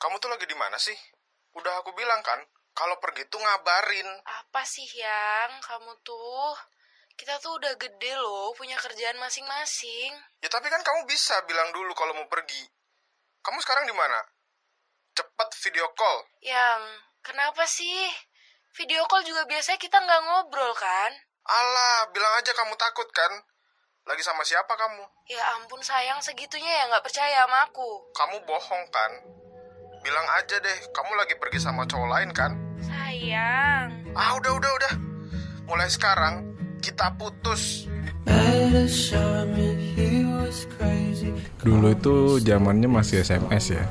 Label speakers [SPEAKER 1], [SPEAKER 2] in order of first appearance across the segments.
[SPEAKER 1] kamu tuh lagi di mana sih? Udah aku bilang kan, kalau pergi tuh ngabarin.
[SPEAKER 2] Apa sih yang kamu tuh? Kita tuh udah gede loh, punya kerjaan masing-masing.
[SPEAKER 1] Ya tapi kan kamu bisa bilang dulu kalau mau pergi. Kamu sekarang di mana? Cepat video call.
[SPEAKER 2] Yang, kenapa sih? Video call juga biasanya kita nggak ngobrol kan?
[SPEAKER 1] Alah, bilang aja kamu takut kan? Lagi sama siapa kamu?
[SPEAKER 2] Ya ampun sayang, segitunya ya nggak percaya sama aku.
[SPEAKER 1] Kamu bohong kan? Bilang aja deh, kamu lagi pergi sama cowok lain kan?
[SPEAKER 2] Sayang.
[SPEAKER 1] Ah, udah, udah, udah. Mulai sekarang, kita putus.
[SPEAKER 3] Dulu itu zamannya masih SMS ya.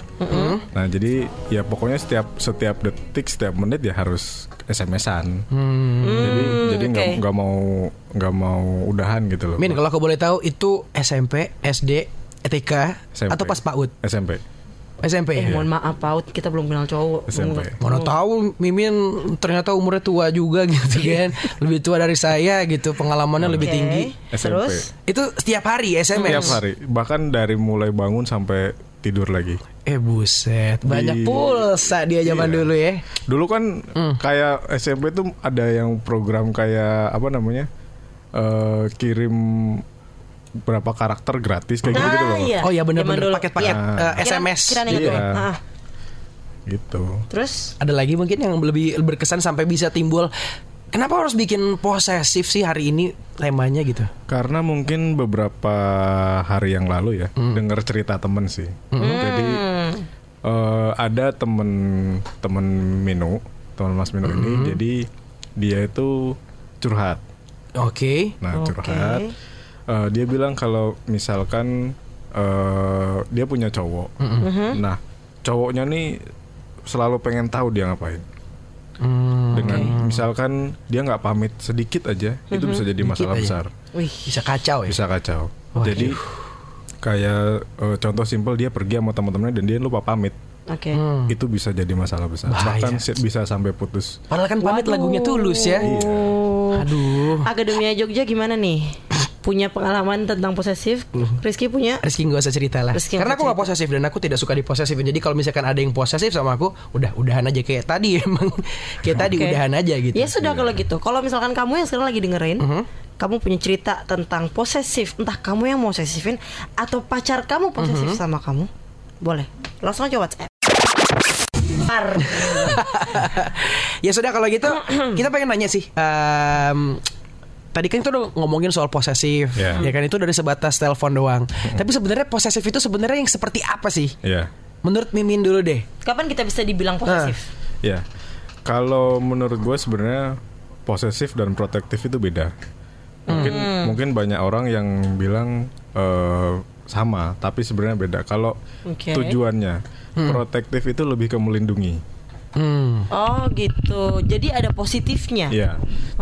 [SPEAKER 3] Nah, jadi ya pokoknya setiap setiap detik, setiap menit ya harus SMS-an. Jadi jadi nggak
[SPEAKER 4] Hmm. oke.
[SPEAKER 3] nggak mau nggak mau udahan gitu loh.
[SPEAKER 5] Min, kalau aku boleh tahu itu SMP, SD, ETK
[SPEAKER 3] SMP.
[SPEAKER 5] E atau pas PAUD?
[SPEAKER 3] SMP.
[SPEAKER 5] SMP. ya?
[SPEAKER 4] Eh, mohon maaf Paut, kita belum kenal cowok.
[SPEAKER 3] SMP.
[SPEAKER 4] Hmm.
[SPEAKER 5] Mana tahu Mimin ternyata umurnya tua juga gitu
[SPEAKER 3] Iya.
[SPEAKER 5] kan. lebih tua dari saya gitu, pengalamannya lebih
[SPEAKER 4] Oke.
[SPEAKER 5] tinggi.
[SPEAKER 3] SMP.
[SPEAKER 4] Terus?
[SPEAKER 5] Itu setiap hari SMS.
[SPEAKER 3] Tiap hari, bahkan dari mulai bangun sampai tidur lagi.
[SPEAKER 5] Eh buset,
[SPEAKER 3] Di-
[SPEAKER 5] banyak pulsa dia zaman
[SPEAKER 3] Iya.
[SPEAKER 5] dulu ya.
[SPEAKER 3] Dulu kan
[SPEAKER 5] Hmm.
[SPEAKER 3] kayak SMP tuh ada yang program kayak apa namanya? eh kirim berapa karakter gratis kayak gitu gitu loh.
[SPEAKER 4] iya.
[SPEAKER 5] Oh iya bener-bener
[SPEAKER 4] Zaman dulu.
[SPEAKER 5] paket-paket
[SPEAKER 3] Iya.
[SPEAKER 5] eh,
[SPEAKER 4] Kira-
[SPEAKER 5] SMS.
[SPEAKER 4] kiraan ingat
[SPEAKER 3] Iya.
[SPEAKER 4] gue. Ah,
[SPEAKER 3] Gitu.
[SPEAKER 4] terus
[SPEAKER 5] Ada lagi mungkin yang lebih berkesan sampai bisa timbul Kenapa harus bikin posesif sih hari ini temanya gitu?
[SPEAKER 3] Karena mungkin beberapa hari yang lalu ya
[SPEAKER 5] Hmm.
[SPEAKER 3] dengar cerita temen sih. Jadi eh, ada temen temen Mino, teman Mas Mino ini,
[SPEAKER 5] Hmm.
[SPEAKER 3] jadi dia itu curhat.
[SPEAKER 5] Oke.
[SPEAKER 3] Nah curhat, eh, dia bilang kalau misalkan eh, dia punya cowok,
[SPEAKER 5] Hmm.
[SPEAKER 3] nah cowoknya nih selalu pengen tahu dia ngapain.
[SPEAKER 5] Hmm,
[SPEAKER 3] Dengan misalkan dia nggak pamit sedikit aja, itu bisa jadi masalah
[SPEAKER 5] aja.
[SPEAKER 3] besar.
[SPEAKER 4] wih,
[SPEAKER 5] Bisa kacau ya.
[SPEAKER 3] bisa kacau. Jadi kayak eh, contoh simpel dia pergi sama teman-temannya dan dia lupa pamit.
[SPEAKER 4] oke.
[SPEAKER 5] Hmm.
[SPEAKER 3] Itu bisa jadi masalah besar.
[SPEAKER 5] Bahaya.
[SPEAKER 3] Bahkan si- bisa sampai putus.
[SPEAKER 5] Padahal kan pamit lagunya tulus ya.
[SPEAKER 4] Oh.
[SPEAKER 5] Aduh.
[SPEAKER 4] Akademia Jogja gimana nih? Punya pengalaman tentang posesif?
[SPEAKER 5] Hmm.
[SPEAKER 4] Rizky punya?
[SPEAKER 5] Rizky gak usah cerita lah
[SPEAKER 4] Rizky
[SPEAKER 5] Karena
[SPEAKER 4] nggak
[SPEAKER 5] aku gak posesif Dan aku tidak suka diposesif Jadi kalau misalkan ada yang posesif sama aku Udah udahan aja Kayak tadi emang Kayak tadi
[SPEAKER 4] Oke.
[SPEAKER 5] udahan aja gitu
[SPEAKER 4] Ya sudah kalau gitu. Kalau misalkan kamu yang sekarang lagi dengerin,
[SPEAKER 5] Hmm.
[SPEAKER 4] kamu punya cerita tentang posesif, entah kamu yang mau posesifin atau pacar kamu posesif
[SPEAKER 5] Hmm.
[SPEAKER 4] sama kamu, boleh langsung aja WhatsApp. Par.
[SPEAKER 5] Ya sudah kalau gitu Kita pengen nanya sih Em, Tadi kan kita udah ngomongin soal posesif
[SPEAKER 3] Ya.
[SPEAKER 5] Ya kan itu dari sebatas telepon doang Tapi sebenarnya posesif itu sebenarnya yang seperti apa sih?
[SPEAKER 3] Ya.
[SPEAKER 5] Menurut Mimin dulu deh
[SPEAKER 4] Kapan kita bisa dibilang posesif?
[SPEAKER 3] Ya. Kalau menurut gue sebenarnya posesif dan protektif itu beda. Mungkin mungkin banyak orang yang bilang eh, sama, tapi sebenarnya beda. Kalau
[SPEAKER 4] Oke.
[SPEAKER 3] tujuannya protektif itu lebih ke melindungi.
[SPEAKER 5] hmm.
[SPEAKER 4] Oh gitu. Jadi ada positifnya.
[SPEAKER 3] Iya.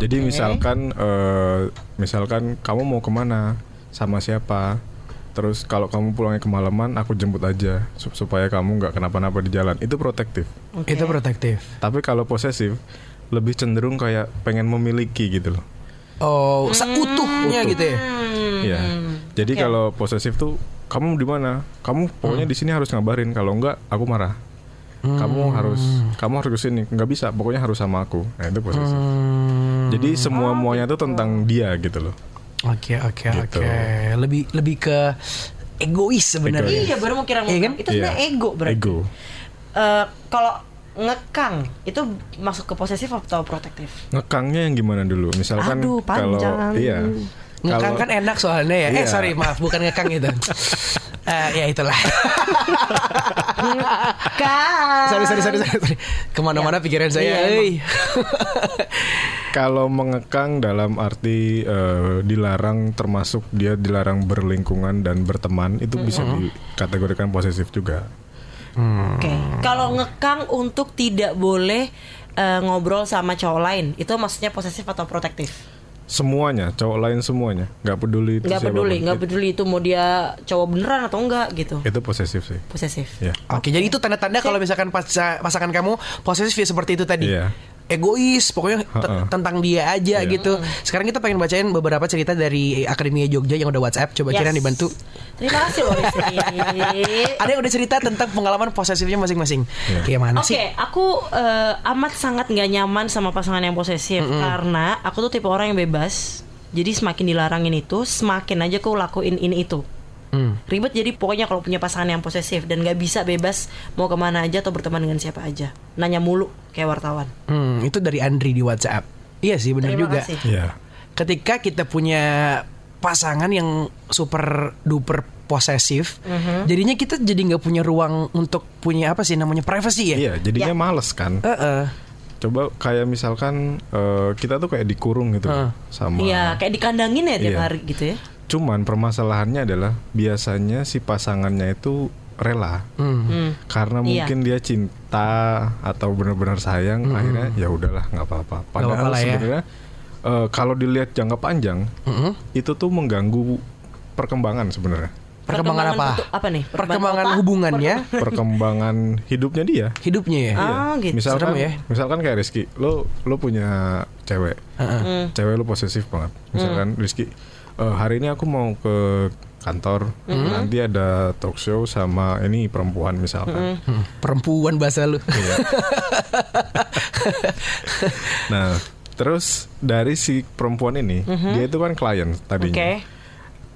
[SPEAKER 3] Jadi
[SPEAKER 4] Oke.
[SPEAKER 3] misalkan eh, misalkan kamu mau kemana sama siapa, terus kalau kamu pulangnya kemalaman aku jemput aja sup- supaya kamu nggak kenapa-napa di jalan. Itu protektif.
[SPEAKER 4] Oke.
[SPEAKER 5] Itu protektif
[SPEAKER 3] Tapi kalau posesif lebih cenderung kayak pengen memiliki gitu loh.
[SPEAKER 5] Oh
[SPEAKER 4] Hmm.
[SPEAKER 5] seutuhnya gitu ya
[SPEAKER 3] Iya.
[SPEAKER 4] Mm-hmm.
[SPEAKER 3] Jadi kalau posesif tuh kamu di mana? Kamu pokoknya di sini harus ngabarin kalau enggak aku marah. Kamu harus kamu harus kesini nggak bisa pokoknya harus sama aku. Nah itu posesif. Jadi semua muanya tuh tentang dia gitu loh.
[SPEAKER 5] Oke oke
[SPEAKER 3] Gitu.
[SPEAKER 5] oke Lebih lebih ke egois sebenarnya
[SPEAKER 3] Egois.
[SPEAKER 4] Iya baru mau kira
[SPEAKER 5] Iya kan?
[SPEAKER 4] Itu sebenarnya
[SPEAKER 3] Iya.
[SPEAKER 4] ego berarti.
[SPEAKER 3] Ego.
[SPEAKER 4] Eh, kalau ngekang itu masuk ke posesif atau protektif?
[SPEAKER 3] Ngekangnya yang gimana dulu? Misalkan
[SPEAKER 4] Aduh,
[SPEAKER 3] kalau
[SPEAKER 4] panjang.
[SPEAKER 3] iya.
[SPEAKER 5] Ngekang
[SPEAKER 3] Kalau-
[SPEAKER 5] kan enak soalnya ya. Eh
[SPEAKER 3] Iya.
[SPEAKER 5] sorry maaf bukan ngekang itu. Eh ya itulah.
[SPEAKER 4] Kang.
[SPEAKER 5] sorry sorry sorry sorry. sorry. Kemana-mana pikiran
[SPEAKER 4] Iya,
[SPEAKER 5] saya.
[SPEAKER 4] emang.
[SPEAKER 5] euy.
[SPEAKER 3] Kalau mengekang dalam arti eh, dilarang termasuk dia dilarang berlingkungan dan berteman itu bisa dikategorikan posesif juga.
[SPEAKER 4] Oke. Kalau ngekang untuk tidak boleh eh, ngobrol sama cowok lain, itu maksudnya posesif atau protektif?
[SPEAKER 3] Semuanya, cowok lain semuanya, nggak peduli itu
[SPEAKER 4] Nggak
[SPEAKER 3] siapa
[SPEAKER 4] peduli,
[SPEAKER 3] pun.
[SPEAKER 4] nggak
[SPEAKER 3] It-
[SPEAKER 4] peduli itu mau dia cowok beneran atau enggak gitu.
[SPEAKER 3] Itu posesif sih.
[SPEAKER 4] Posesif.
[SPEAKER 3] Ya.
[SPEAKER 5] Oke jadi itu tanda-tanda kalau misalkan pas- pasangan kamu posesif ya seperti itu tadi.
[SPEAKER 3] Iya.
[SPEAKER 5] egois pokoknya te-
[SPEAKER 3] Ha-ha.
[SPEAKER 5] tentang dia
[SPEAKER 3] Iya.
[SPEAKER 5] aja gitu sekarang kita pengen bacain beberapa cerita dari akademi Jogja yang udah WhatsApp coba
[SPEAKER 4] Yes.
[SPEAKER 5] Ciren dibantu
[SPEAKER 4] Terima kasih loh Rizky.
[SPEAKER 5] ada yang udah cerita tentang pengalaman posesifnya masing-masing kayak mana sih
[SPEAKER 4] Oke, aku eh, amat sangat nggak nyaman sama pasangan yang posesif karena aku tuh tipe orang yang bebas. Jadi semakin dilarangin itu, semakin aja aku lakuin ini itu.
[SPEAKER 5] Hmm.
[SPEAKER 4] Ribet jadi pokoknya kalau punya pasangan yang posesif dan nggak bisa bebas mau kemana aja atau berteman dengan siapa aja. Nanya mulu kayak wartawan.
[SPEAKER 5] Hmm, itu dari Andri di WhatsApp iya sih benar
[SPEAKER 4] Terima
[SPEAKER 5] juga
[SPEAKER 4] kasih.
[SPEAKER 3] Iya.
[SPEAKER 5] ketika kita punya pasangan yang super duper posesif,
[SPEAKER 4] Mhm.
[SPEAKER 5] jadinya kita jadi nggak punya ruang untuk punya apa sih namanya privacy ya?
[SPEAKER 3] Iya, jadinya males kan.
[SPEAKER 5] Heeh.
[SPEAKER 3] Coba kayak misalkan eh, kita tuh kayak dikurung gitu
[SPEAKER 5] Heeh.
[SPEAKER 3] sama
[SPEAKER 4] Iya, kayak dikandangin ya tiap
[SPEAKER 3] Iya.
[SPEAKER 4] hari gitu ya.
[SPEAKER 3] Cuman permasalahannya adalah biasanya si pasangannya itu rela.
[SPEAKER 5] Hmm.
[SPEAKER 3] Karena
[SPEAKER 4] Iya.
[SPEAKER 3] mungkin dia cinta atau benar-benar sayang akhirnya ya udahlah nggak apa-apa.
[SPEAKER 5] Hmm. apa-apa
[SPEAKER 3] Padahal
[SPEAKER 5] lah ya.
[SPEAKER 3] sebenarnya eh, kalau dilihat jangka panjang
[SPEAKER 5] Mm-mm.
[SPEAKER 3] itu tuh mengganggu perkembangan sebenarnya.
[SPEAKER 5] Perkembangan apa?
[SPEAKER 4] bentuk- apa nih? Perkembangan
[SPEAKER 5] Perkembangan
[SPEAKER 4] otak?
[SPEAKER 5] hubungannya,
[SPEAKER 3] Perkembangan hidupnya dia.
[SPEAKER 5] hidupnya ya.
[SPEAKER 4] Ah, gitu.
[SPEAKER 3] Misalkan
[SPEAKER 5] Serem ya.
[SPEAKER 3] misalkan kayak Rizky, lo lo punya cewek.
[SPEAKER 5] Heeh.
[SPEAKER 3] Cewek lo posesif banget. Misalkan Rizky, "Eh, hari ini aku mau ke kantor. Nanti ada talk show sama ini perempuan misalkan.
[SPEAKER 5] Hmm, Perempuan bahasa lu.
[SPEAKER 3] Iya. Nah, terus dari si perempuan ini, dia itu kan klien tadinya.
[SPEAKER 4] Oke.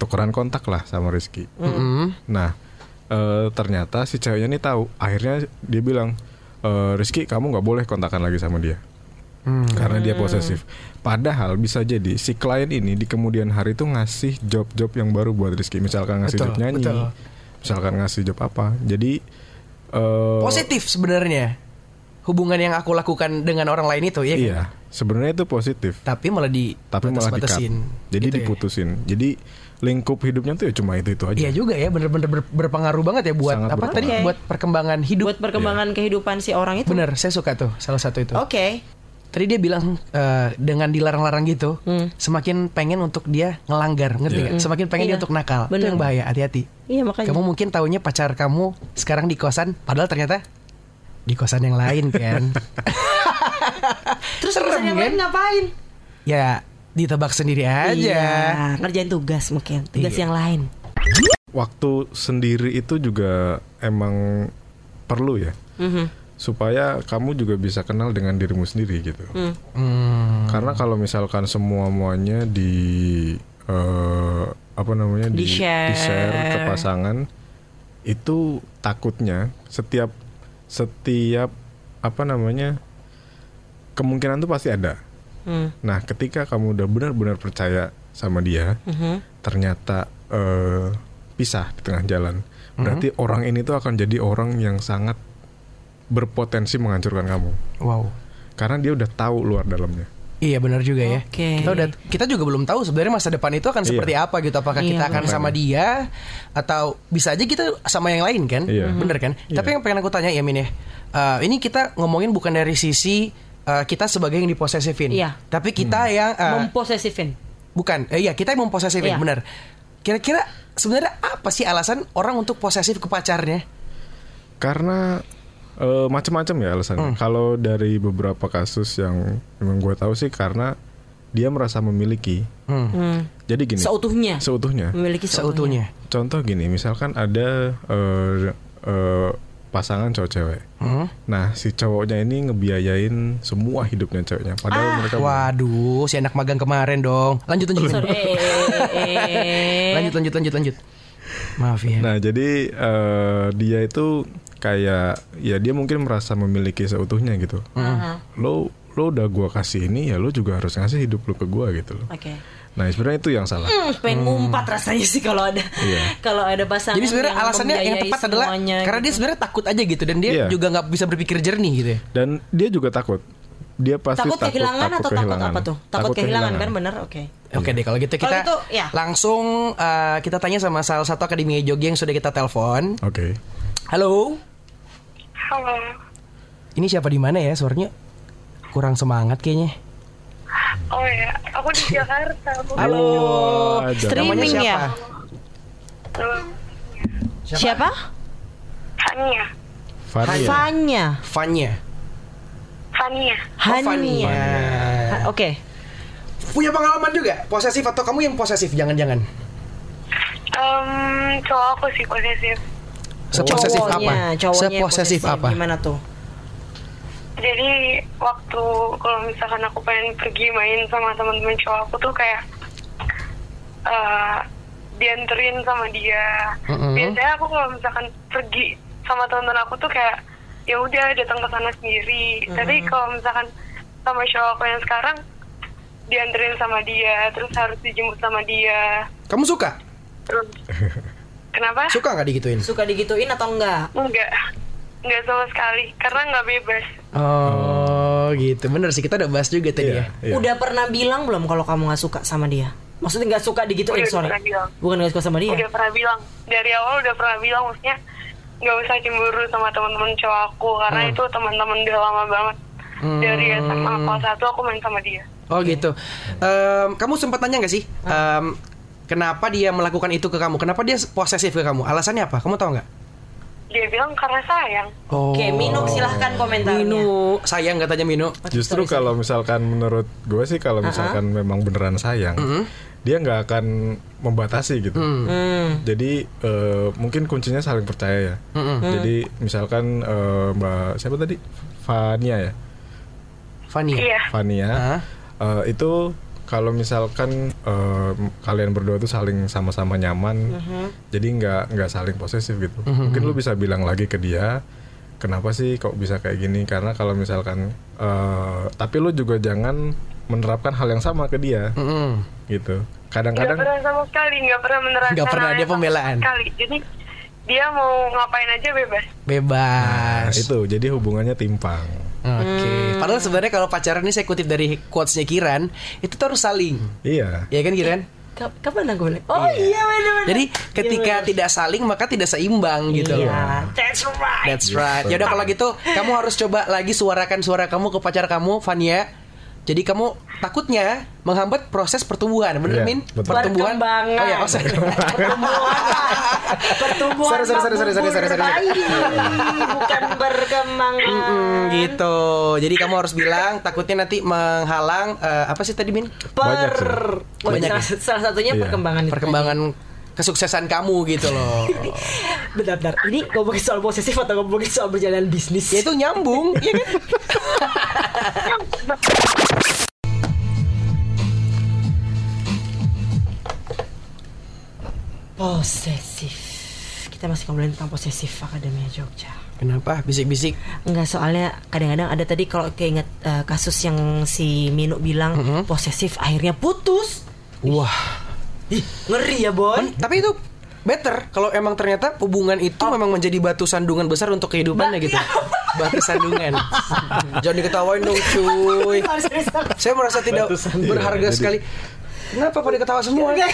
[SPEAKER 3] Tukeran kontak lah sama Rizky.
[SPEAKER 5] Mm.
[SPEAKER 3] Nah, eh, ternyata si ceweknya ini tahu. Akhirnya dia bilang, "Eh, Rizky, kamu nggak boleh kontakkan lagi sama dia
[SPEAKER 5] Hmm.
[SPEAKER 3] karena dia posesif." Padahal bisa jadi si klien ini di kemudian hari itu ngasih job-job yang baru buat Rizky. Misalkan ngasih
[SPEAKER 5] Betul,
[SPEAKER 3] job nyanyi,
[SPEAKER 5] betul.
[SPEAKER 3] misalkan ngasih job apa. Jadi eh,
[SPEAKER 5] Positif sebenarnya hubungan yang aku lakukan dengan orang lain itu ya. kan?
[SPEAKER 3] iya, sebenarnya itu positif.
[SPEAKER 5] Tapi malah di
[SPEAKER 3] tapi malah di
[SPEAKER 5] batas-batasin.
[SPEAKER 3] jadi
[SPEAKER 5] Gitu ya.
[SPEAKER 3] diputusin jadi lingkup hidupnya tuh ya cuma itu itu aja
[SPEAKER 5] Iya juga ya, bener-bener ber- berpengaruh banget ya buat
[SPEAKER 3] Sangat
[SPEAKER 5] apa tadi?
[SPEAKER 4] berpengaruh.
[SPEAKER 5] Buat perkembangan hidup.
[SPEAKER 4] Buat perkembangan kehidupan si orang
[SPEAKER 5] Iya.
[SPEAKER 4] itu. Oh.
[SPEAKER 5] Bener, saya suka tuh salah satu itu.
[SPEAKER 4] Oke.
[SPEAKER 5] Tadi dia bilang eh, dengan dilarang-larang gitu,
[SPEAKER 4] Hmm.
[SPEAKER 5] semakin pengen untuk dia ngelanggar, ngerti nggak? Semakin pengen dia
[SPEAKER 4] Iya.
[SPEAKER 5] untuk nakal. Itu
[SPEAKER 4] Bener.
[SPEAKER 5] yang bahaya, hati-hati.
[SPEAKER 4] Iya makanya.
[SPEAKER 5] Kamu mungkin taunya pacar kamu sekarang di kosan, padahal ternyata di kosan yang lain kan.
[SPEAKER 4] Terus
[SPEAKER 5] Serem,
[SPEAKER 4] urusan yang lain
[SPEAKER 5] kan?
[SPEAKER 4] ngapain?
[SPEAKER 5] ya, ditebak sendiri aja.
[SPEAKER 4] Iya, ngerjain tugas mungkin, tugas
[SPEAKER 5] Iya.
[SPEAKER 4] yang lain.
[SPEAKER 3] waktu sendiri itu juga emang perlu ya
[SPEAKER 4] Mm-hmm.
[SPEAKER 3] supaya kamu juga bisa kenal dengan dirimu sendiri gitu
[SPEAKER 5] Hmm,
[SPEAKER 3] karena kalau misalkan semua muanya di eh, apa namanya
[SPEAKER 4] Di-share.
[SPEAKER 3] di-share ke pasangan itu takutnya setiap setiap apa namanya kemungkinan tuh pasti ada
[SPEAKER 4] Hmm.
[SPEAKER 5] Mm-hmm.
[SPEAKER 3] Nah, ketika kamu udah benar-benar percaya sama dia,
[SPEAKER 4] Mm-hmm.
[SPEAKER 3] ternyata eh, pisah di tengah jalan. Berarti orang ini tuh akan jadi orang yang sangat berpotensi menghancurkan kamu.
[SPEAKER 4] Iya.
[SPEAKER 5] wow.
[SPEAKER 3] Karena dia udah tahu luar dalamnya.
[SPEAKER 5] Iya benar juga ya.
[SPEAKER 4] Oke.
[SPEAKER 5] Kita udah kita juga belum tahu sebenarnya masa depan itu akan seperti apa gitu. Apakah
[SPEAKER 4] Iya,
[SPEAKER 5] kita akan sama dia atau bisa aja kita sama yang lain kan?
[SPEAKER 3] Iya.
[SPEAKER 4] Mhm.
[SPEAKER 5] Bener kan? Tapi yang pengen aku tanya ya Min ya. eh, ini kita ngomongin bukan dari sisi eh, kita sebagai yang diposesifin.
[SPEAKER 4] Iya.
[SPEAKER 5] Tapi
[SPEAKER 3] Mhm.
[SPEAKER 5] kita yang eh,
[SPEAKER 4] Memposesifin.
[SPEAKER 5] bukan eh, iya kita yang memposesifin
[SPEAKER 4] Iya.
[SPEAKER 5] bener. Kira-kira sebenarnya apa sih alasan orang untuk posesif ke pacarnya?
[SPEAKER 3] Karena eh, macam-macam ya alasannya. Kalau dari beberapa kasus yang memang gue tahu sih karena dia merasa memiliki.
[SPEAKER 5] Mm.
[SPEAKER 3] Jadi gini.
[SPEAKER 4] Seutuhnya.
[SPEAKER 3] Seutuhnya.
[SPEAKER 4] Memiliki seutuhnya.
[SPEAKER 5] Seutuhnya.
[SPEAKER 3] Contoh gini, misalkan ada eh, eh, pasangan cowok cewek.
[SPEAKER 5] Hmm.
[SPEAKER 3] Nah, si cowoknya ini ngebiayain semua hidupnya ceweknya. Padahal
[SPEAKER 4] Ah,
[SPEAKER 3] mereka
[SPEAKER 5] Waduh, si anak magang kemarin dong. Lanjut lanjut.
[SPEAKER 4] Sorry,
[SPEAKER 5] lanjut.
[SPEAKER 4] eh, eh, eh, eh.
[SPEAKER 5] lanjut lanjut lanjut lanjut. Maaf ya.
[SPEAKER 3] Nah, jadi eh, dia itu kayak ya dia mungkin merasa memiliki seutuhnya gitu.
[SPEAKER 4] Hmm.
[SPEAKER 3] Lo lo udah gua kasih ini ya lo juga harus ngasih hidup lo ke gua gitu loh.
[SPEAKER 4] Oke.
[SPEAKER 3] Nah, sebenarnya itu yang salah.
[SPEAKER 4] Hmm, pengen ngumpat rasanya sih kalau ada kalau ada
[SPEAKER 5] Iya.
[SPEAKER 4] pasangan.
[SPEAKER 5] Jadi sebenarnya
[SPEAKER 4] yang
[SPEAKER 5] alasannya yang
[SPEAKER 4] membiayai
[SPEAKER 5] tepat adalah
[SPEAKER 4] semuanya
[SPEAKER 5] karena
[SPEAKER 4] gitu.
[SPEAKER 5] dia sebenarnya takut aja gitu dan dia
[SPEAKER 3] Iya.
[SPEAKER 5] juga nggak bisa berpikir jernih gitu ya.
[SPEAKER 3] Dan dia juga takut. Dia pasti
[SPEAKER 4] takut,
[SPEAKER 3] takut,
[SPEAKER 4] kehilangan atau
[SPEAKER 3] kehilangan.
[SPEAKER 4] takut apa tuh? Takut, kehilangan, kan bener, oke.
[SPEAKER 5] Oke deh kalau gitu
[SPEAKER 4] Kalau
[SPEAKER 5] kita
[SPEAKER 4] gitu, ya.
[SPEAKER 5] langsung eh, kita tanya sama salah satu akademi Jogja yang sudah kita telepon.
[SPEAKER 3] Oke.
[SPEAKER 5] Halo,
[SPEAKER 6] Halo,
[SPEAKER 5] ini siapa di mana ya suaranya? Kurang semangat kayaknya.
[SPEAKER 6] oh ya, aku di Jakarta. Bu.
[SPEAKER 5] Halo,
[SPEAKER 3] Wah,
[SPEAKER 5] namanya
[SPEAKER 4] Streaming
[SPEAKER 5] siapa?
[SPEAKER 4] ya?
[SPEAKER 6] Halo,
[SPEAKER 4] Siapa?
[SPEAKER 6] Fania,
[SPEAKER 5] Iya.
[SPEAKER 3] Fania.
[SPEAKER 4] Fanya.
[SPEAKER 5] Fanya. Oh,
[SPEAKER 6] Fa Fania.
[SPEAKER 5] Fania.
[SPEAKER 4] Hania. Ha, Oke.
[SPEAKER 5] Punya pengalaman juga posesif atau kamu yang posesif jangan-jangan?
[SPEAKER 6] Em, cowok aku sih posesif.
[SPEAKER 5] Seposesif
[SPEAKER 4] Cowoknya,
[SPEAKER 5] apa?
[SPEAKER 4] cowoknya
[SPEAKER 5] Seposesif
[SPEAKER 4] posesif.
[SPEAKER 5] apa?
[SPEAKER 4] Gimana tuh?
[SPEAKER 6] Jadi waktu kalau misalkan aku pengen pergi main sama teman-teman cowok aku tuh kayak eh dianterin sama dia.
[SPEAKER 5] Mm-mm.
[SPEAKER 6] Biasanya aku kalau misalkan pergi sama teman-teman aku tuh kayak ya udah datang ke sana sendiri. Tapi kalau misalkan sama cowok aku yang sekarang dianterin sama dia, terus harus dijemput sama dia.
[SPEAKER 5] Kamu suka?
[SPEAKER 6] Terus kenapa?
[SPEAKER 5] Suka nggak digituin?
[SPEAKER 4] Suka digituin atau enggak?
[SPEAKER 6] Enggak, enggak sama sekali karena nggak bebas.
[SPEAKER 5] Oh, gitu. Bener sih kita udah bahas juga tadi
[SPEAKER 3] Iya,
[SPEAKER 5] ya.
[SPEAKER 3] iya.
[SPEAKER 4] Udah pernah bilang belum kalau kamu nggak suka sama dia? Maksudnya nggak
[SPEAKER 5] Eh,
[SPEAKER 4] suka digituin,
[SPEAKER 6] Udah
[SPEAKER 4] sorry.
[SPEAKER 6] pernah bilang.
[SPEAKER 5] Oh.
[SPEAKER 4] Bukan nggak suka sama dia.
[SPEAKER 6] udah pernah bilang dari awal udah pernah bilang maksudnya nggak usah cemburu sama teman-teman cowok aku karena
[SPEAKER 5] Hmm.
[SPEAKER 6] itu teman-teman udah lama banget dari SMA kelas satu aku main sama dia
[SPEAKER 5] Oh gitu. Em, kamu sempat tanya nggak sih? em, kenapa dia melakukan itu ke kamu? Kenapa dia posesif ke kamu? Alasannya apa? Kamu tahu nggak?
[SPEAKER 6] dia bilang karena sayang
[SPEAKER 5] Oh.
[SPEAKER 4] Oke, Minu silahkan komentarnya.
[SPEAKER 5] Minu, sayang katanya Minu.
[SPEAKER 3] Justru kalau misalkan menurut gue sih kalau misalkan memang beneran sayang, dia nggak akan membatasi gitu.
[SPEAKER 4] Mm. Hmm.
[SPEAKER 3] Jadi eh, mungkin kuncinya saling percaya ya. Jadi misalkan eh, Mbak siapa tadi Fania ya,
[SPEAKER 5] Fania.
[SPEAKER 6] iya
[SPEAKER 3] Fania
[SPEAKER 5] Hah?
[SPEAKER 3] eh, itu kalau misalkan eh, kalian berdua tuh saling sama-sama nyaman, jadi nggak nggak saling posesif gitu. Mungkin lu bisa bilang lagi ke dia, kenapa sih kok bisa kayak gini? Karena kalau misalkan, eh, tapi lu juga jangan menerapkan hal yang sama ke dia,
[SPEAKER 5] Mm-mm.
[SPEAKER 3] gitu.
[SPEAKER 6] nggak
[SPEAKER 3] Kadang-kadang
[SPEAKER 6] pernah sama sekali nggak pernah menerangkan
[SPEAKER 5] Nggak pernah,
[SPEAKER 6] hal yang
[SPEAKER 5] dia
[SPEAKER 6] sama
[SPEAKER 5] pembelaan.
[SPEAKER 6] sekali jadi dia mau ngapain aja bebas
[SPEAKER 3] nah,
[SPEAKER 5] Bebas.
[SPEAKER 3] itu, jadi hubungannya timpang.
[SPEAKER 5] Oke. Padahal sebenarnya kalau pacaran ini saya kutip dari quotesnya Kiran, itu tuh harus saling.
[SPEAKER 3] Iya,
[SPEAKER 5] Ya kan Kiran?
[SPEAKER 4] Ka- Kapan aku boleh? Oh iya, benar-benar.
[SPEAKER 5] Jadi ketika tidak saling maka tidak seimbang gitu.
[SPEAKER 4] Iya.
[SPEAKER 5] loh.
[SPEAKER 4] That's right.
[SPEAKER 5] That's right. Yaudah kalau gitu kamu harus coba lagi suarakan suara kamu ke pacar kamu, Fania. Jadi kamu takutnya menghambat proses pertumbuhan,
[SPEAKER 3] Iya,
[SPEAKER 5] bener Min?
[SPEAKER 3] betul.
[SPEAKER 5] Pertumbuhan.
[SPEAKER 4] Perkembangan.
[SPEAKER 5] Oh ya, oh, sorry.
[SPEAKER 4] Pertumbuhan
[SPEAKER 5] Sorry, sorry, sorry, sorry, sorry, sorry, sorry.
[SPEAKER 4] membumbung bukan berkembang.
[SPEAKER 5] Mm, gitu. Jadi kamu harus bilang takutnya nanti menghalang eh, apa sih tadi Min?
[SPEAKER 4] Per
[SPEAKER 3] Banyak sih.
[SPEAKER 4] Oh,
[SPEAKER 5] Banyak ya.
[SPEAKER 4] salah, salah satunya
[SPEAKER 3] Iya.
[SPEAKER 4] perkembangan itu
[SPEAKER 5] Perkembangan kesuksesan kamu gitu loh.
[SPEAKER 4] tadi. Bentar, bentar. Ini ngomongin soal posesif atau ngomongin soal berjalan bisnis?
[SPEAKER 5] ya itu nyambung, ya kan?
[SPEAKER 4] posesif. Kita masih ngobrolin tentang posesif Akademia Jogja.
[SPEAKER 5] Kenapa? Bisik-bisik.
[SPEAKER 4] Enggak soalnya kadang-kadang ada tadi kalau keinget eh, kasus yang si Minu bilang
[SPEAKER 3] Mm-hmm.
[SPEAKER 4] posesif akhirnya putus.
[SPEAKER 5] Wah.
[SPEAKER 4] Ih, ngeri ya, Boy.
[SPEAKER 5] Kan, Tapi itu better kalau emang ternyata hubungan itu
[SPEAKER 4] Oh.
[SPEAKER 5] memang menjadi batu sandungan besar untuk kehidupannya
[SPEAKER 4] iya.
[SPEAKER 5] gitu. Batu sandungan. Jangan diketawain dong, cuy.
[SPEAKER 4] Harus restart.
[SPEAKER 5] Saya merasa tidak
[SPEAKER 3] Batu sandungan.
[SPEAKER 5] berharga
[SPEAKER 3] Iya, jadi-
[SPEAKER 5] sekali. Kenapa pada ketawa semua? Iya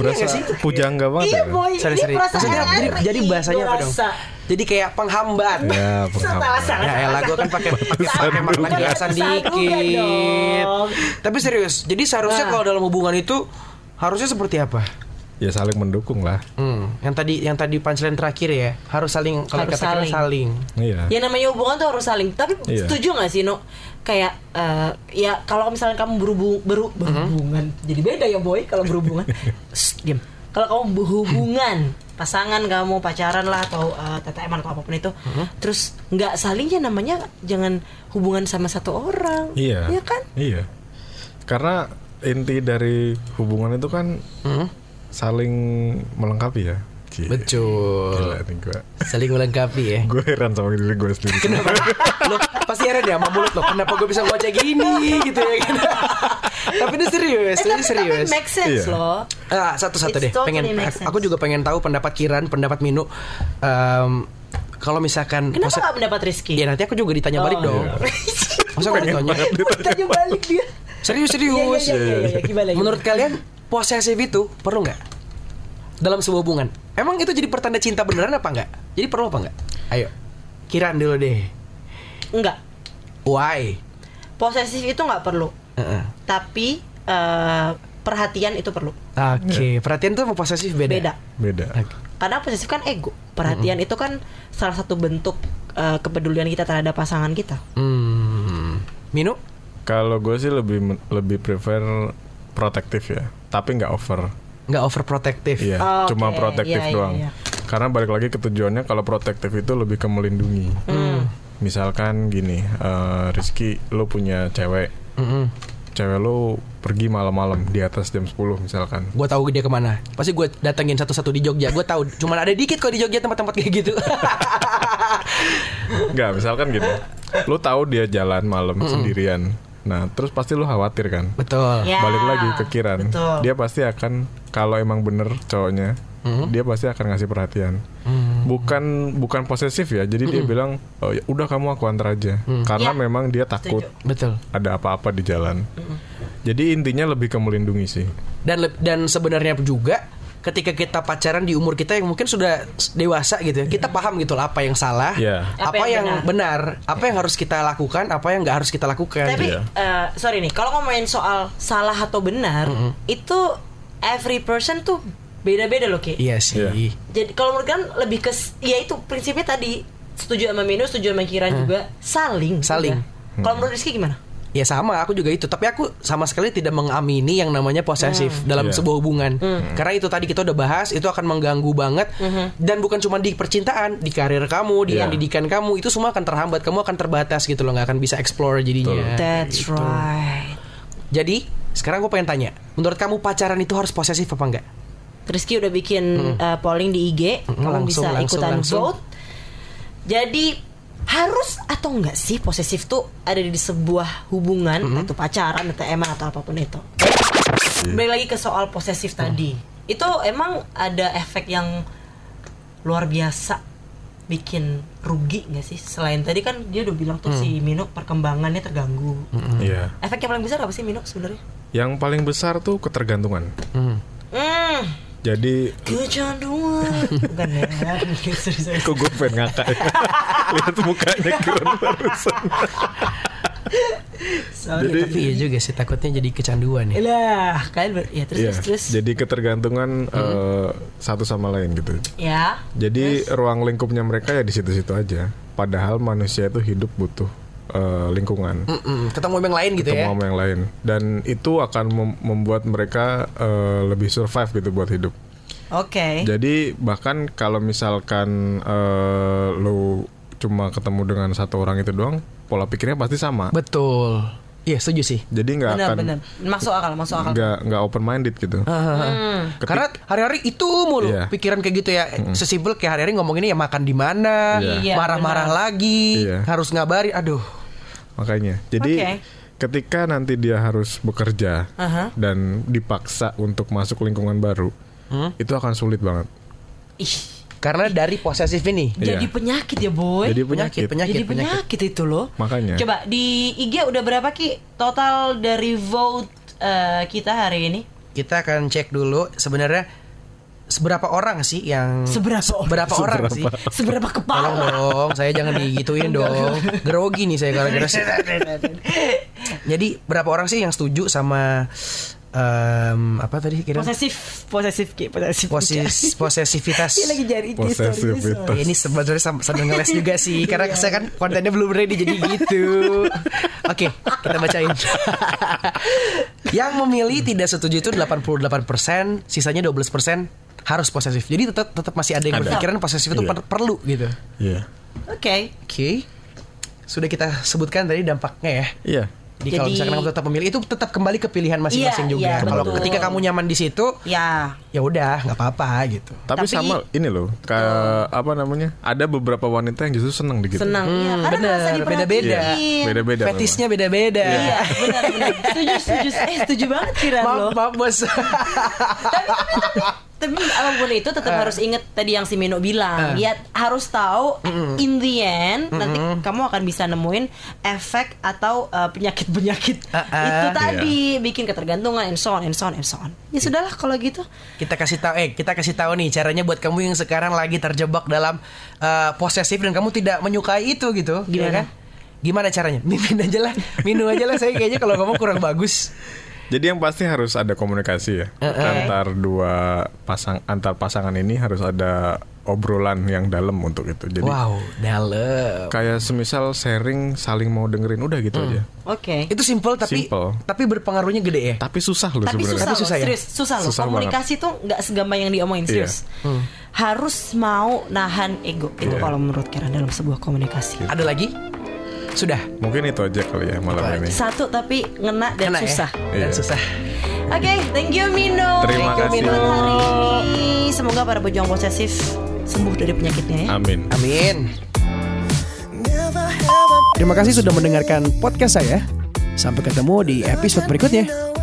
[SPEAKER 3] berasa
[SPEAKER 5] nggak sih?
[SPEAKER 3] pujangga banget
[SPEAKER 4] Iya
[SPEAKER 3] ya.
[SPEAKER 4] boy,
[SPEAKER 5] Sorry,
[SPEAKER 4] ini
[SPEAKER 5] sorry.
[SPEAKER 4] perasaan
[SPEAKER 5] Maksudnya
[SPEAKER 4] RRI,
[SPEAKER 5] jadi, jadi bahasanya apa dong?
[SPEAKER 4] berasa.
[SPEAKER 5] Jadi kayak penghambat.
[SPEAKER 3] Ya,
[SPEAKER 4] Salah,
[SPEAKER 3] penghambat.
[SPEAKER 4] salah,
[SPEAKER 5] Ya elah gue kan pakai pakai makna
[SPEAKER 3] sandungan.
[SPEAKER 5] jelasan
[SPEAKER 4] Batu sandungan
[SPEAKER 5] dikit.
[SPEAKER 4] dong.
[SPEAKER 5] Tapi serius, jadi seharusnya
[SPEAKER 4] Nah.
[SPEAKER 5] kalau dalam hubungan itu harusnya seperti apa?
[SPEAKER 3] Ya saling mendukung lah.
[SPEAKER 5] Hmm, yang tadi yang tadi punchline terakhir ya harus saling kalau
[SPEAKER 4] Harus
[SPEAKER 5] kata saling.
[SPEAKER 4] saling.
[SPEAKER 5] saling.
[SPEAKER 3] Iya.
[SPEAKER 4] Ya namanya hubungan tuh harus saling. Tapi
[SPEAKER 3] Iya.
[SPEAKER 4] setuju nggak sih, No? Kayak eh, ya kalau misalnya kamu berhubung beru-
[SPEAKER 3] Mm-hmm.
[SPEAKER 4] berhubungan, jadi beda ya boy kalau berhubungan. Shh, diam. Kalau kamu berhubungan pasangan kamu pacaran lah atau eh, TTM atau apapun itu,
[SPEAKER 3] Mm-hmm.
[SPEAKER 4] terus nggak salingnya namanya jangan hubungan sama satu orang,
[SPEAKER 3] Iya.
[SPEAKER 4] ya kan?
[SPEAKER 3] Iya. Karena inti dari hubungan itu kan saling melengkapi ya. Cie,
[SPEAKER 5] Hmm? Betul.
[SPEAKER 3] Gila nih gue.
[SPEAKER 5] Saling melengkapi ya.
[SPEAKER 3] Gue heran sama diri gue sendiri. Kenapa?
[SPEAKER 5] lo pasti heran ya sama mulut lo. Kenapa gue bisa ngoceh gini gitu ya kan. Tapi ini serius, ini
[SPEAKER 4] Eh, tapi, tapi
[SPEAKER 5] serius.
[SPEAKER 4] make sense
[SPEAKER 3] Iya.
[SPEAKER 4] loh.
[SPEAKER 5] Ah, satu-satu
[SPEAKER 4] It's
[SPEAKER 5] deh.
[SPEAKER 4] totally
[SPEAKER 5] pengen
[SPEAKER 4] make sense.
[SPEAKER 5] aku juga pengen tahu pendapat Kiran, pendapat Minu. Em, kalau misalkan
[SPEAKER 4] Kenapa
[SPEAKER 5] masa-
[SPEAKER 4] nggak mendapat Rizky?
[SPEAKER 5] Ya nanti aku juga ditanya balik
[SPEAKER 4] Oh.
[SPEAKER 5] dong. Masa aku ditanya?
[SPEAKER 4] Tanya balik dia.
[SPEAKER 5] Serius,
[SPEAKER 4] Iya, iya,
[SPEAKER 5] serius.
[SPEAKER 4] iya, iya, iya. Gimana, gimana?
[SPEAKER 5] Menurut kalian posesif itu perlu nggak dalam sebuah hubungan? Emang itu jadi pertanda cinta beneran apa nggak? Jadi perlu apa nggak? Ayo, kiran dulu deh.
[SPEAKER 4] Enggak.
[SPEAKER 5] Why?
[SPEAKER 4] Posesif itu nggak perlu.
[SPEAKER 5] Heeh.
[SPEAKER 4] Tapi eh, perhatian itu perlu.
[SPEAKER 5] Oke, perhatian tuh sama posesif beda.
[SPEAKER 4] Beda.
[SPEAKER 3] Beda.
[SPEAKER 5] Oke.
[SPEAKER 4] Karena posesif kan ego. Perhatian itu kan salah satu bentuk eh, kepedulian kita terhadap pasangan kita.
[SPEAKER 5] Hmm. Minu?
[SPEAKER 3] Kalau gue sih lebih lebih prefer protektif ya, tapi nggak over.
[SPEAKER 5] Nggak overprotective.
[SPEAKER 3] Iya,
[SPEAKER 4] Oh, Oke,
[SPEAKER 3] cuma protektif
[SPEAKER 4] iya, iya,
[SPEAKER 3] doang.
[SPEAKER 4] iya.
[SPEAKER 3] Karena balik lagi ke tujuannya kalau protektif itu lebih ke melindungi.
[SPEAKER 4] Hmm.
[SPEAKER 3] Misalkan gini, eh, Rizky lo punya cewek,
[SPEAKER 5] Mm-mm.
[SPEAKER 3] cewek lo pergi malam-malam di atas jam 10 misalkan.
[SPEAKER 5] Gue tahu dia kemana. Pasti gue datengin satu-satu di Jogja. Gue tahu. Cuman ada dikit kok di Jogja tempat-tempat kayak gitu.
[SPEAKER 3] Enggak, misalkan gini. Lo tahu dia jalan malam sendirian. Nah, terus pasti lo khawatir kan?
[SPEAKER 5] Betul.
[SPEAKER 4] Ya,
[SPEAKER 3] balik lagi ke Kiran
[SPEAKER 4] betul.
[SPEAKER 3] dia pasti akan kalau emang bener cowoknya
[SPEAKER 4] Mm-hmm.
[SPEAKER 3] dia pasti akan ngasih perhatian bukan bukan posesif ya jadi dia bilang "Oh, ya udah kamu aku antar aja karena
[SPEAKER 4] Ya.
[SPEAKER 3] memang dia takut
[SPEAKER 5] Betul.
[SPEAKER 3] ada apa-apa di jalan jadi intinya lebih ke melindungi sih
[SPEAKER 5] dan leb- dan sebenarnya juga ketika kita pacaran di umur kita yang mungkin sudah s- dewasa gitu ya kita paham gitu lah apa yang salah
[SPEAKER 3] Iya.
[SPEAKER 5] apa, yang, benar. apa yang harus kita lakukan apa yang nggak harus kita lakukan
[SPEAKER 4] Tapi
[SPEAKER 3] Iya.
[SPEAKER 4] eh, sorry nih, kalau ngomongin soal salah atau benar, itu every person tuh beda-beda loh Ki.
[SPEAKER 5] iya sih
[SPEAKER 3] Iya.
[SPEAKER 4] Jadi kalau menurut kan lebih ke ya itu prinsipnya tadi setuju sama Minu, setuju sama Kiran juga saling.
[SPEAKER 5] Saling.
[SPEAKER 4] Udah. Kalau menurut Rizky gimana?
[SPEAKER 5] ya sama aku juga itu tapi aku sama sekali tidak mengamini yang namanya posesif
[SPEAKER 3] Iya.
[SPEAKER 5] dalam sebuah hubungan karena itu tadi kita udah bahas itu akan mengganggu banget dan bukan cuma di percintaan di karir kamu di
[SPEAKER 3] Iya.
[SPEAKER 5] pendidikan kamu itu semua akan terhambat kamu akan terbatas gitu loh nggak akan bisa explore jadinya
[SPEAKER 4] That's right.
[SPEAKER 5] Jadi sekarang gue pengen tanya, menurut kamu pacaran itu harus posesif apa enggak?
[SPEAKER 4] Rizky udah bikin eh, polling di IG,
[SPEAKER 5] Hmm,
[SPEAKER 4] kamu
[SPEAKER 5] langsung,
[SPEAKER 4] bisa
[SPEAKER 5] langsung,
[SPEAKER 4] ikutan
[SPEAKER 5] langsung.
[SPEAKER 4] vote. Jadi harus atau enggak sih posesif tuh ada di sebuah hubungan atau pacaran atau emang atau apapun itu. Balik lagi ke soal posesif tadi. Itu emang ada efek yang luar biasa bikin rugi nggak sih? Selain tadi kan dia udah bilang tuh
[SPEAKER 5] Mm.
[SPEAKER 4] si Mino perkembangannya terganggu.
[SPEAKER 3] Iya.
[SPEAKER 4] Efek yang paling besar apa sih Mino sebenarnya?
[SPEAKER 3] yang paling besar tuh ketergantungan
[SPEAKER 4] Hmm,
[SPEAKER 3] jadi
[SPEAKER 4] kecanduan. Bukan ya. Sorry, sorry.
[SPEAKER 3] kok gue pengen ngakak ya? lihat mukanya Kiran barusan
[SPEAKER 4] Sorry.
[SPEAKER 3] Jadi-
[SPEAKER 5] Tapi iya juga sih takutnya jadi kecanduan ya.
[SPEAKER 4] lah kalian ber- ya terus
[SPEAKER 3] Iya,
[SPEAKER 4] terus terus Hmm.
[SPEAKER 3] jadi ketergantungan eh, satu sama lain gitu
[SPEAKER 4] ya
[SPEAKER 3] Jadi ruang lingkupnya mereka ya di situ-situ aja. Padahal manusia itu hidup butuh eh,
[SPEAKER 4] Hmm,
[SPEAKER 3] lingkungan,
[SPEAKER 5] Mm-mm, ketemu yang lain gitu
[SPEAKER 3] ketemu
[SPEAKER 5] ya.
[SPEAKER 3] sama yang lain, dan itu akan mem- membuat mereka eh, lebih survive gitu buat hidup.
[SPEAKER 4] oke
[SPEAKER 3] Jadi bahkan kalau misalkan eh, lo cuma ketemu dengan satu orang itu doang, pola pikirnya pasti sama.
[SPEAKER 5] Betul. Iya setuju sih.
[SPEAKER 3] Jadi nggak
[SPEAKER 4] benar
[SPEAKER 3] akan
[SPEAKER 4] benar Ah. masuk akal masuk akal Hmm.
[SPEAKER 3] nggak nggak open minded gitu. Ketik-
[SPEAKER 5] Hmm. Karena hari-hari itu mulu
[SPEAKER 3] Iya.
[SPEAKER 5] pikiran kayak gitu ya. Sesimpel kayak hari-hari ngomonginnya ya makan di mana,
[SPEAKER 4] Iya. Iya,
[SPEAKER 5] marah-marah lagi,
[SPEAKER 3] Iya.
[SPEAKER 5] harus ngabarin. Aduh.
[SPEAKER 3] Makanya. Jadi
[SPEAKER 4] Oke.
[SPEAKER 3] ketika nanti dia harus bekerja
[SPEAKER 4] Aha.
[SPEAKER 3] dan dipaksa untuk masuk lingkungan baru, itu akan sulit banget.
[SPEAKER 4] ih
[SPEAKER 5] Karena dari posesif ini.
[SPEAKER 3] Iya.
[SPEAKER 4] jadi penyakit ya boy
[SPEAKER 3] Jadi
[SPEAKER 4] jadi
[SPEAKER 3] penyakit.
[SPEAKER 5] penyakit,
[SPEAKER 4] penyakit,
[SPEAKER 5] penyakit.
[SPEAKER 4] itu loh
[SPEAKER 3] Makanya.
[SPEAKER 4] coba di IG udah berapa ki total dari vote eh, kita hari ini
[SPEAKER 5] Kita akan cek dulu sebenarnya seberapa orang sih yang
[SPEAKER 4] Seberapa orang?
[SPEAKER 5] Berapa orang
[SPEAKER 3] Seberapa?
[SPEAKER 5] sih?
[SPEAKER 4] seberapa
[SPEAKER 5] Tolong
[SPEAKER 4] kepala
[SPEAKER 5] dong, saya jangan digituin dong. Grogi nih saya gara-gara sih. Jadi berapa orang sih yang setuju sama em, apa tadi kira
[SPEAKER 4] posesif posesif ki posesif
[SPEAKER 5] posis posesivitas?
[SPEAKER 4] Dia lagi jari IG story
[SPEAKER 3] Posesivitas.
[SPEAKER 5] Ya, ini sebenarnya sam- sambil ngeles juga sih karena
[SPEAKER 4] Iya.
[SPEAKER 5] saya kan kontennya belum ready jadi gitu. Oke, kita bacain. yang memilih tidak setuju itu 88%, sisanya 12% harus posesif. Jadi tetap tetap masih ada yang
[SPEAKER 3] Ada.
[SPEAKER 5] berpikiran posesif itu
[SPEAKER 3] Iya.
[SPEAKER 5] per- perlu gitu.
[SPEAKER 3] Iya.
[SPEAKER 4] oke
[SPEAKER 5] Oke. Sudah kita sebutkan tadi dampaknya ya.
[SPEAKER 3] Iya.
[SPEAKER 5] Jadi kalau
[SPEAKER 4] Jadi-
[SPEAKER 5] misalkan kamu tetap memilih itu tetap kembali ke pilihan masing-masing
[SPEAKER 4] Iya,
[SPEAKER 5] juga.
[SPEAKER 4] iya,
[SPEAKER 5] kalau
[SPEAKER 4] betul.
[SPEAKER 5] ketika kamu nyaman di situ,
[SPEAKER 4] ya
[SPEAKER 5] ya udah nggak apa-apa gitu.
[SPEAKER 3] Tapi,
[SPEAKER 4] Tapi-
[SPEAKER 3] sama ini loh, ke apa namanya? Ada beberapa wanita yang justru senang di gitu.
[SPEAKER 4] senang iya karena
[SPEAKER 5] bener,
[SPEAKER 4] merasa diperhatiin.
[SPEAKER 5] beda-beda.
[SPEAKER 3] Iya, beda-beda.
[SPEAKER 5] Fetisnya beda-beda.
[SPEAKER 4] iya benar benar setuju setuju eh setuju banget kiran lo
[SPEAKER 5] Maaf, maaf bos.
[SPEAKER 4] tapi apapun itu tetap harus inget tadi yang si Mino bilang
[SPEAKER 5] Eh.
[SPEAKER 4] ya harus tahu in the end nanti kamu akan bisa nemuin efek atau penyakit penyakit
[SPEAKER 5] Ah, ah.
[SPEAKER 4] itu tadi
[SPEAKER 3] Iya.
[SPEAKER 4] bikin ketergantungan and so on and so on and so on ya sudahlah kalau gitu
[SPEAKER 5] kita kasih tahu eh kita kasih tahu nih caranya buat kamu yang sekarang lagi terjebak dalam eh, posesif dan kamu tidak menyukai itu gitu. ya
[SPEAKER 4] Gimana?
[SPEAKER 5] kan? Gimana caranya? Mimin aja lah, minum aja lah. Saya kayaknya kalau kamu kurang bagus.
[SPEAKER 3] Jadi yang pasti harus ada komunikasi ya antar dua pasang antar pasangan ini harus ada obrolan yang dalam untuk itu. Jadi
[SPEAKER 5] Wow, dalam.
[SPEAKER 3] kayak semisal sharing saling mau dengerin udah gitu
[SPEAKER 4] Hmm.
[SPEAKER 3] aja.
[SPEAKER 4] Oke.
[SPEAKER 5] Itu simple tapi
[SPEAKER 3] Simple.
[SPEAKER 5] tapi berpengaruhnya gede ya.
[SPEAKER 3] Tapi susah loh
[SPEAKER 4] Tapi susah,
[SPEAKER 3] sebenarnya.
[SPEAKER 5] Tapi
[SPEAKER 4] loh,
[SPEAKER 5] susah ya?
[SPEAKER 4] serius, susah loh.
[SPEAKER 3] Susah
[SPEAKER 4] Komunikasi tuh nggak segampang yang diomongin
[SPEAKER 3] Iya.
[SPEAKER 4] serius. Harus mau nahan ego itu
[SPEAKER 3] Iya.
[SPEAKER 4] kalau menurut Kira dalam sebuah komunikasi.
[SPEAKER 5] Ada lagi? Sudah.
[SPEAKER 3] Mungkin itu aja kali ya malam
[SPEAKER 5] Apa
[SPEAKER 3] ini.
[SPEAKER 4] Satu tapi ngena dan
[SPEAKER 5] Kena ya?
[SPEAKER 4] susah.
[SPEAKER 3] Iya.
[SPEAKER 5] Dan susah.
[SPEAKER 4] Oke, thank you Mino.
[SPEAKER 3] Terima
[SPEAKER 4] Thank you,
[SPEAKER 3] kasih.
[SPEAKER 4] Mino hari ini. Semoga para pejuang posesif sembuh dari penyakitnya ya.
[SPEAKER 3] Amin.
[SPEAKER 5] Amin. Terima kasih sudah mendengarkan podcast saya. Sampai ketemu di episode berikutnya.